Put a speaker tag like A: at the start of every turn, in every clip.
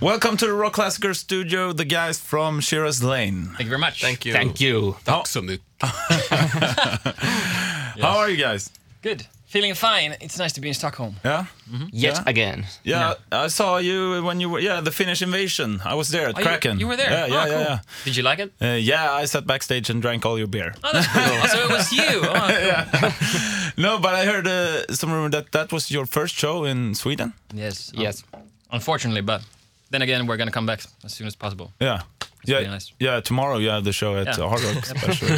A: Welcome to the Rock Classicer Studio, the guys from Shiraz Lane.
B: Thank you very much.
C: Thank you.
D: Thank you.
C: Tack så mycket.
A: How are you guys?
B: Good. Feeling fine. It's nice to be in Stockholm.
A: Yeah?
B: Mm-hmm.
D: Yet again.
A: Yeah, I saw you when you were, yeah, the Finnish invasion. I was there at
B: Oh, you-
A: Kraken.
B: you were there?
A: Yeah, yeah,
B: Oh,
A: yeah.
B: cool. Did you like it?
A: yeah. Uh, yeah, I sat backstage and drank all your beer.
B: Oh, that's cool. so it was you. Oh, cool.
A: No, but I heard uh, some rumor that that was your first show in Sweden.
B: Yes.
D: Yes.
B: Unfortunately, but then again, we're going to come back as soon as possible.
A: Yeah. Yeah,
B: pretty nice.
A: yeah. Tomorrow you have the show at
B: Yeah.
A: uh, Hard Rock Special.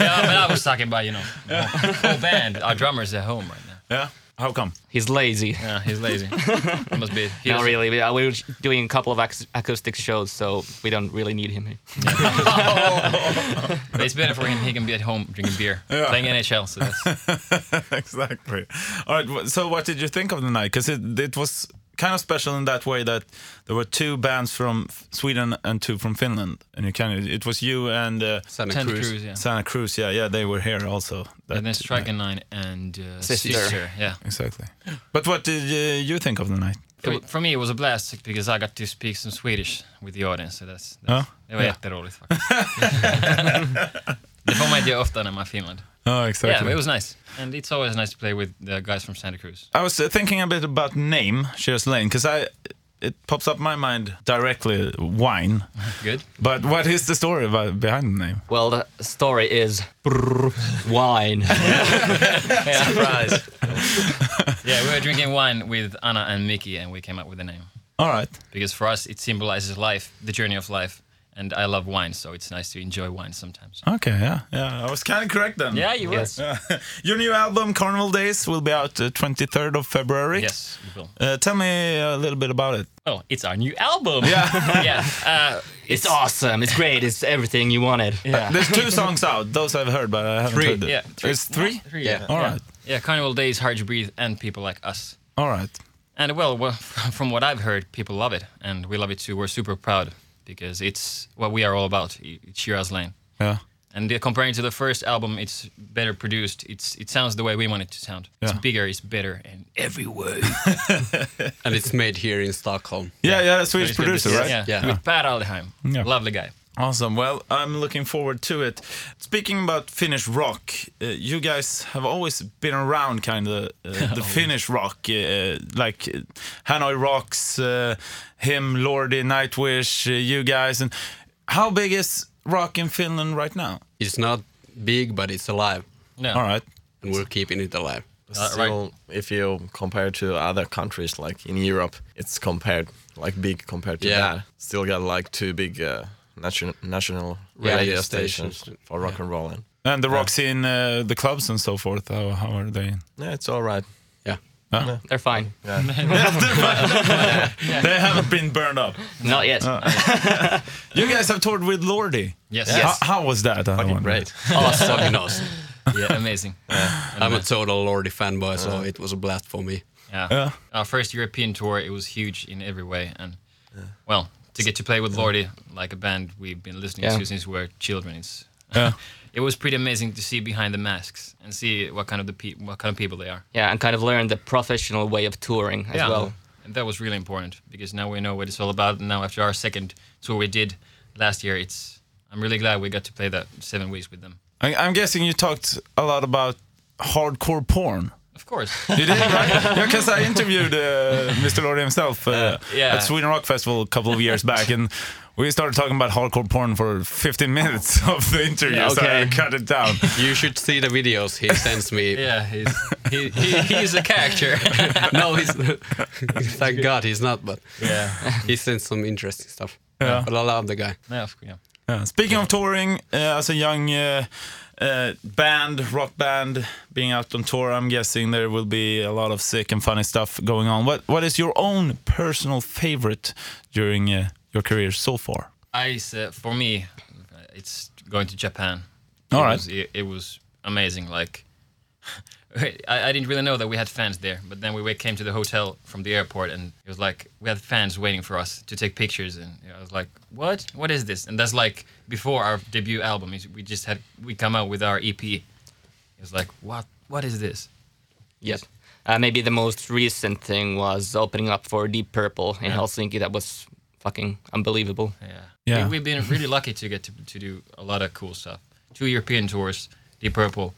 B: yeah, but I was talking about, you know, the whole band. Our drummer's at home right now.
A: yeah. How come?
D: He's lazy.
B: Yeah, he's lazy. It must be. He
D: Not
B: doesn't-
D: really. We are, we're doing a couple of ac- acoustic shows, so we don't really need him here.
B: but It's better for him. He can be at home drinking beer, playing NHL. So that's,
A: exactly. All right. wh- So, what did you think of the night? Because it, it was kind of special in that way that there were two bands from F- Sweden and two from Finland, and you kind of it was you and uh,
C: Santa
B: Ted
C: Cruz.
B: Cruz, yeah.
A: Santa Cruz. Yeah, yeah, they were here also. That,
B: And then Striker 9 and uh,
D: Sister.
B: Yeah.
A: Exactly. But what did uh, you think of the night?
B: For, for me, it was a blast because I got to speak some Swedish with the audience. Så that's, that's,
A: Ja.
B: Det var jätteroligt faktiskt. det får man inte göra ofta när man är i Finland.
A: Oh,
B: Yeah,
A: exactly.
B: but it was nice. And it's always nice to play with the guys from Santa Cruz.
A: I was uh, thinking a bit about name Shears Lane because I it pops up my mind directly wine.
B: Good?
A: But what is the story about, behind the name?
D: Well, the story is brrr, wine.
B: Yeah. Surprise. yeah, we were drinking wine with Anna and Mickey and we came up with the name.
A: All right.
B: Because for us, it symbolizes life, the journey of life. And I love wine, so it's nice to enjoy wine sometimes.
A: Okay. Yeah. Yeah. I was kind of correct then.
B: Yeah, you were.
D: Yes.
B: Yes.
A: Your new album, Carnival Days, will be out uh, 23rd of February.
B: you will.
A: Uh, tell me a little bit about it.
B: Oh, it's our new album. Yeah. yeah. Uh,
D: it's awesome. It's great. It's everything you wanted. Yeah.
A: There's two songs out. Those I've heard, but I haven't
C: Three.
A: heard them.
B: Yeah, three.
A: It's three?
B: yeah.
A: All
B: yeah.
A: right.
B: Yeah, Carnival Days, Hard to Breathe, and People Like Us.
A: All right.
B: And well, well, from what I've heard, people love it, and we love it too. We're super proud because it's what we are all about. i- It's Shiraz Lane.
A: Yeah.
B: And uh, comparing to the first album, it's better produced. It's it sounds the way we want it to sound. It's
A: Yeah.
B: bigger, it's better, and every way.
C: And it's made here in Stockholm.
A: Yeah, yeah, Swedish producer, right?
B: Yeah,
C: Yeah.
B: with Per Alderheim,
A: Yeah.
B: lovely guy.
A: Awesome. Well, I'm looking forward to it. Speaking about Finnish rock, uh, you guys have always been around kind of uh, the Finnish rock, uh, like uh, Hanoi Rocks, uh, him, Lordi, Nightwish, uh, you guys. And how big is rock in Finland right now?
C: It's not big, but it's alive.
B: No,
A: All right.
C: And we're keeping it alive.
B: Uh, right.
E: Still, if you compare to other countries like in Europe, it's compared like big compared to
C: Yeah.
E: that. Still got like two big uh, national national
C: Radio
E: radio
C: stations.
E: stations, for rock and roll. And
A: And the rock scene, uh, the clubs and so forth, how, how are they?
E: yeah, it's all right.
C: Yeah.
D: They're fine.
A: They haven't been burned up.
D: Not yet.
B: Oh.
A: You guys have toured with Lordi.
B: Yes.
A: How-
B: Yes.
A: How, was that? I
E: Fucking
A: wonder?
E: great.
C: Awesome. Fucking awesome.
B: yeah, amazing.
C: I'm a total Lordi fanboy, so it was a blast for me.
B: Yeah.
A: Yeah.
B: Our first European tour, it was huge in every way. And, well, to get to play with Lordi, like a band we've been listening
D: Yeah.
B: to since we were children, it's,
A: Yeah.
B: it was pretty amazing to see behind the masks and see what kind of the pe- what kind of people they are.
D: Yeah, and kind of learn the professional way of touring as well.
B: And that was really important because now we know what it's all about. And now, after our second tour we did last year, it's I'm really glad we got to play that seven weeks with them.
A: I, I'm guessing you talked a lot about hardcore porn.
B: Of course.
A: You did, right? Yeah, because I interviewed uh, Mr. Lordi himself uh,
B: yeah.
A: at Sweden Rock Festival a couple of years back, and we started talking about hardcore porn for 15 minutes of the interview,
D: Yeah,
A: so I
D: okay.
A: cut it down.
C: You should see the videos he sends me.
B: yeah, he's, he, he, he's a character.
C: No, Oh, he's. thank God he's not, but
B: yeah.
C: he sends some interesting stuff.
A: Yeah.
C: But I love the guy.
B: Yeah, of- yeah.
A: Yeah. Speaking of touring, uh, as a young uh, uh, band, rock band, being out on tour, I'm guessing there will be a lot of sick and funny stuff going on. What What is your own personal favorite during uh, your career so far?
B: I say, uh, for me, it's going to Japan.
A: All
B: it
A: right.
B: Was, it, it was amazing. Like, I, I didn't really know that we had fans there, but then we wa- came to the hotel from the airport, and it was like we had fans waiting for us to take pictures, and you know, I was like, "What? What is this?" And that's like before our debut album. is- We just had we come out with our EP. It was like, "What? What is this?"
D: Yes. Uh, maybe the most recent thing was opening up for Deep Purple in Helsinki. That was fucking unbelievable.
B: Yeah.
A: Yeah.
B: We, have been really lucky to get to, to do a lot of cool stuff. Two European tours, Deep Purple,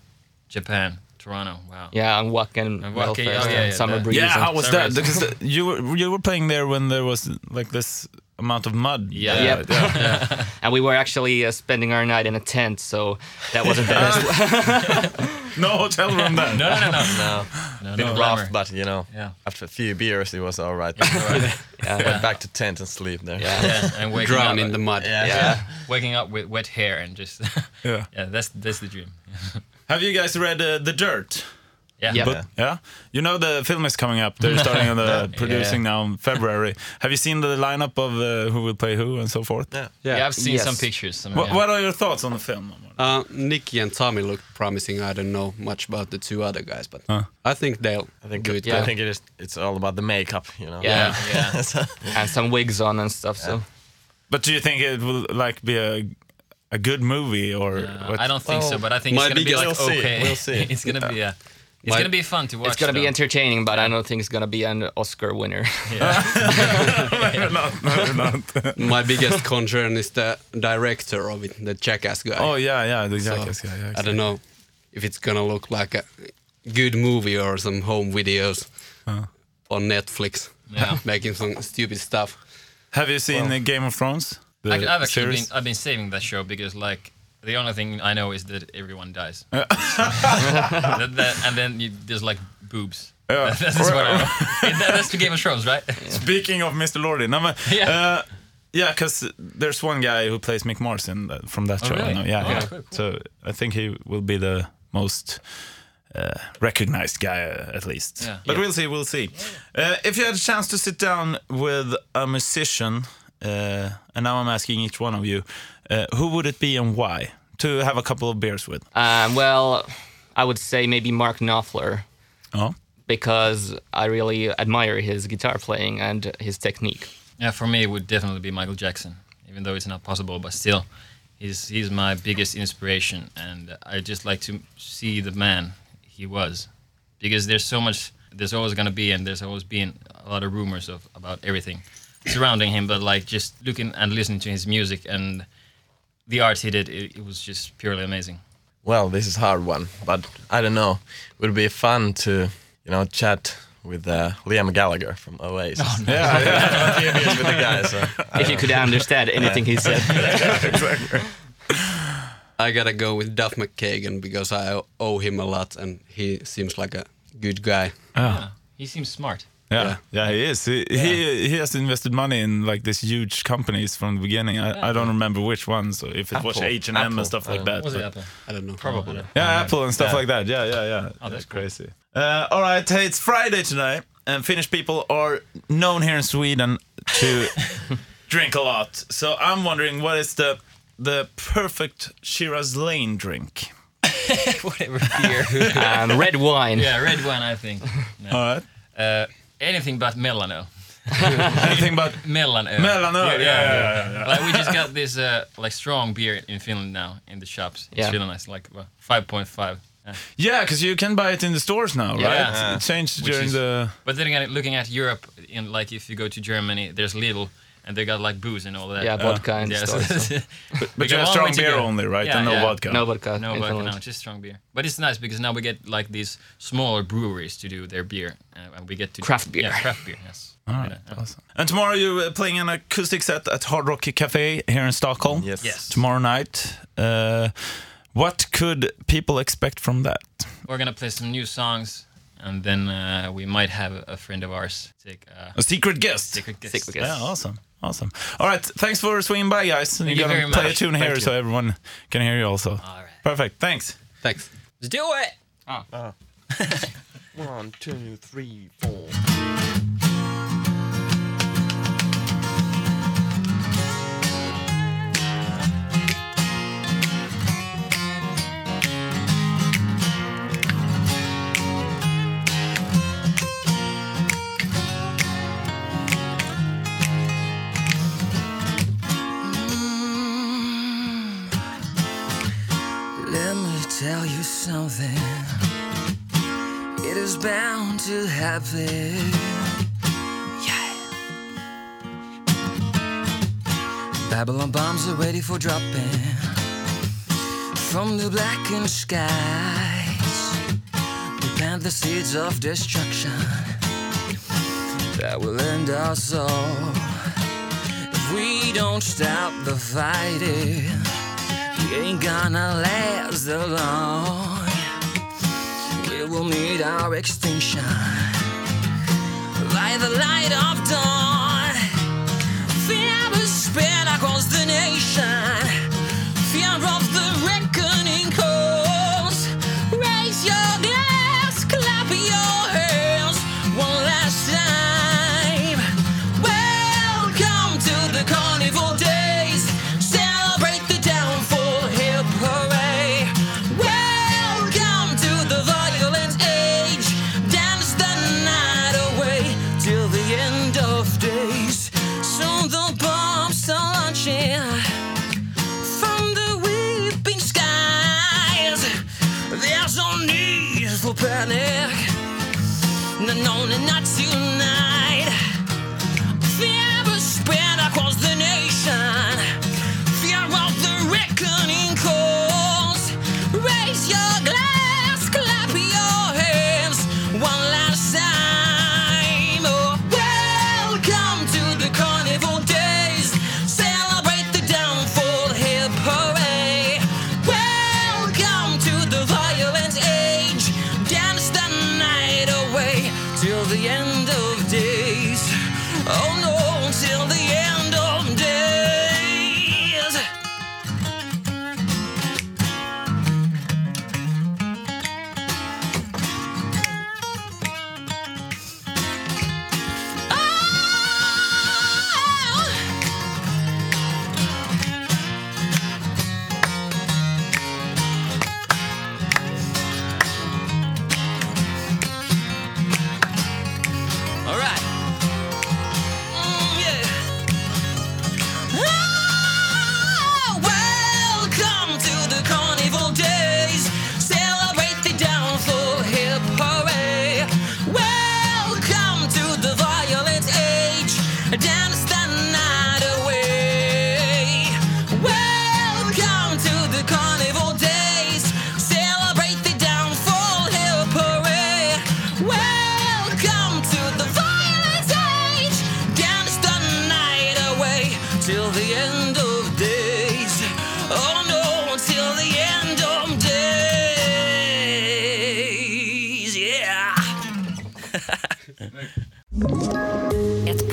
B: Japan, Toronto. Wow.
D: Yeah, and Wacken,
B: And
D: and
B: Wacken,
D: Belfast,
B: oh, yeah,
D: and
B: yeah,
D: Summer
B: that-
D: Breeze.
A: Yeah,
D: and-
A: how was
B: Sorry.
A: that? Because the- you were you were playing there when there was like this amount of mud.
B: Yeah.
A: Uh,
D: Yep. and we were actually uh, spending our night in a tent, so that wasn't the best.
A: No hotel room then.
B: No, no, no, no.
E: No,
B: no, no
E: a bit
B: glamour.
E: rough, but you know,
B: Yeah.
E: after a few beers, it was all right.
B: All right.
E: Went back to tent and sleep there.
D: Yeah.
B: yeah. And waking
C: Drown
B: up,
C: in the mud.
E: Yeah.
B: waking up with wet hair and just
A: Yeah.
B: yeah. That's that's the dream.
A: Have you guys read uh, The Dirt?
B: Yeah.
D: Yeah.
A: But yeah, you know the film is coming up. They're starting on the producing now in February. Have you seen the lineup of uh, who will play who and so forth?
E: Yeah.
B: yeah. I've seen
D: Yes.
B: some pictures. Some,
A: What,
B: yeah.
A: what are your thoughts on the film?
C: Uh, Nicky and Tommy look promising. I don't know much about the two other guys, but
A: Huh.
C: I think they'll
E: I think
C: do it.
E: I
C: well.
E: think it is. It's all about the makeup, you know.
D: Yeah.
B: Yeah.
E: So-
D: and some wigs on and stuff. So
A: But do you think it will like be a a good movie or?
B: Uh,
A: what-
B: I don't think so,
E: Well,
B: but I think
C: my
B: it's gonna be
C: biggest-
B: like
E: We'll see,
B: okay.
E: we'll see.
B: it's gonna be yeah. It's
C: My-
B: gonna be fun to watch.
D: it's gonna be
B: though.
D: entertaining, but I don't think it's gonna be an Oscar winner.
A: Maybe not, maybe not.
C: My biggest concern is the director of it, the jackass guy.
A: oh yeah, yeah, the
C: So,
A: Jackass guy. yeah,
C: I
A: exactly.
C: don't know if it's gonna look like a good movie or some home videos on Netflix,
B: Yeah.
C: making some stupid stuff.
A: Have you seen uh, Game of Thrones? The
B: I, I've actually
A: series?
B: been, I've been saving that show because like the only thing I know is that everyone dies. That- that- and then you, there's like boobs.
A: Yeah.
B: That- that's what I know. That- that's the Game of Thrones, right?
A: Speaking of Mr. Lordy, no, but,
B: Yeah.
A: uh, yeah, because there's one guy who plays Mick Mars in that, from that show. I
B: really?
A: know, Yeah,
B: Oh,
A: yeah.
B: cool, cool.
A: So I think he will be the most uh, recognized guy, uh, at least.
B: Yeah.
A: But
B: Yeah.
A: we'll see, we'll see. Uh, if you had a chance to sit down with a musician, uh, and now I'm asking each one of you, uh, who would it be and why? To have a couple of beers with.
D: um, well, I would say maybe Mark Knopfler
B: Uh.
A: Oh,
D: because I really admire his guitar playing and his technique.
B: Yeah, for me it would definitely be Michael Jackson, even though it's not possible, but still, he's he's my biggest inspiration, and I just like to see the man he was, because there's so much, there's always gonna be, and there's always been a lot of rumors of about everything surrounding him, but like just looking and listening to his music and the art he did, it, it was just purely amazing.
E: Well, this is hard one, but I don't know. Would be fun to you know chat with uh, Liam Gallagher from Oasis.
A: yeah, yeah.
E: A few beers with the guys. So.
D: If you could understand anything he said,
C: I gotta go with Duff McKagan because I owe him a lot, and he seems like a good guy.
B: Yeah, he seems smart.
A: Yeah, yeah,
C: Yeah.
A: he is. He, he he has invested money in like these huge companies from the beginning. I, I don't remember which ones. So if it was
E: Apple.
A: H and M
E: Apple.
A: and stuff like
E: Uh,
A: that.
B: Was it
A: but-
B: Apple?
C: I don't know.
B: Probably.
A: Yeah, Apple and stuff
E: Yeah.
A: like that. Yeah, yeah, yeah.
B: that's
A: that's
B: cool.
A: crazy. Uh, all right, hey, it's Friday today, and Finnish people are known here in Sweden to drink a lot. So I'm wondering, what is the the perfect Shiraz Lane drink?
B: Whatever beer.
D: um, red wine.
B: yeah, red one, I think. No.
A: All right,
B: Uh, anything but Melano.
A: anything but
B: Mellanöl.
A: Mellanöl, yeah, yeah, yeah,
B: Like we just got this uh, like strong beer in Finland now in the shops. It's
D: Yeah.
B: really nice, like well, 5.5. Yeah.
A: yeah, because you can buy it in the stores now,
B: Yeah.
A: right?
B: Yeah.
A: It changed
B: Which
A: during
B: is-
A: the
B: But then again, looking at Europe, in like if you go to Germany, there's Lidl and they got like booze and all that. Uh,
D: Yeah, vodka and
B: Yeah, so-
D: stuff. so-
B: We
A: But
B: got
A: you have
B: one way
A: strong
B: to
A: beer
B: go.
A: only, right?
B: Yeah,
A: and no
B: yeah.
A: vodka.
D: No vodka.
B: No
D: in
B: vodka,
D: Finland.
B: no, just strong beer. But it's nice because now we get like these smaller breweries to do their beer, uh, and we get to
D: Craft beer.
B: Yeah, craft beer. Yes. Yeah, yeah.
A: Awesome. And tomorrow you're uh, playing an acoustic set at Hard Rock Cafe here in Stockholm.
E: Yes.
B: Yes.
A: Tomorrow night. Uh, what could people expect from that?
B: We're gonna play some new songs, and then uh, we might have a- a friend of ours take uh, a
A: A secret guest.
B: secret guest.
D: Secret guest.
A: Yeah, oh, awesome. Awesome. All right. Thanks for swinging by, guys. And
B: Thank
A: you're
B: you
A: going
B: very
A: to play a
B: much.
A: tune
B: Thank
A: here
B: you.
A: so everyone can hear you also.
B: All right.
A: Perfect. Thanks.
C: Thanks.
B: Let's do it.
E: One, two, three, four.
F: Let me tell you something. It is bound to happen. Yeah. Babylon bombs are ready for dropping from the blackened skies. We plant the seeds of destruction that will end us all. If we don't stop the fighting, we ain't gonna last long. We will meet our extinction by the light of dawn. Fear will spread across the nation. Fear of the reckoning calls. Raise your glass, clap your hands one last time. Welcome to the carnival days. Celebrate the downfall, hip hooray. Welcome to the violent age. Dance the night away till the end of days. Soon the bombs are launching from the weeping skies. There's no need for panic. No, no, no, not tonight. Fear is spread across the nation. Fear of the reckoning calls. Raise your glass, clap your hands one last time. Oh, welcome to the carnival days. Celebrate the downfall, hip hooray. Welcome to the violent age. Dance the night away till the end of days. Oh no, till the end of days. Oh! All right. Mm, yeah. Ah, welcome to the carnival days. Celebrate the downfall, hip hooray. Welcome to the violent age. Dance the night away. Welcome to the carnival days. Celebrate the downfall, hip hooray. Welcome to the violent age. Dance the night away till the end of days. Oh no, till the end of days. Yeah.
G: Ett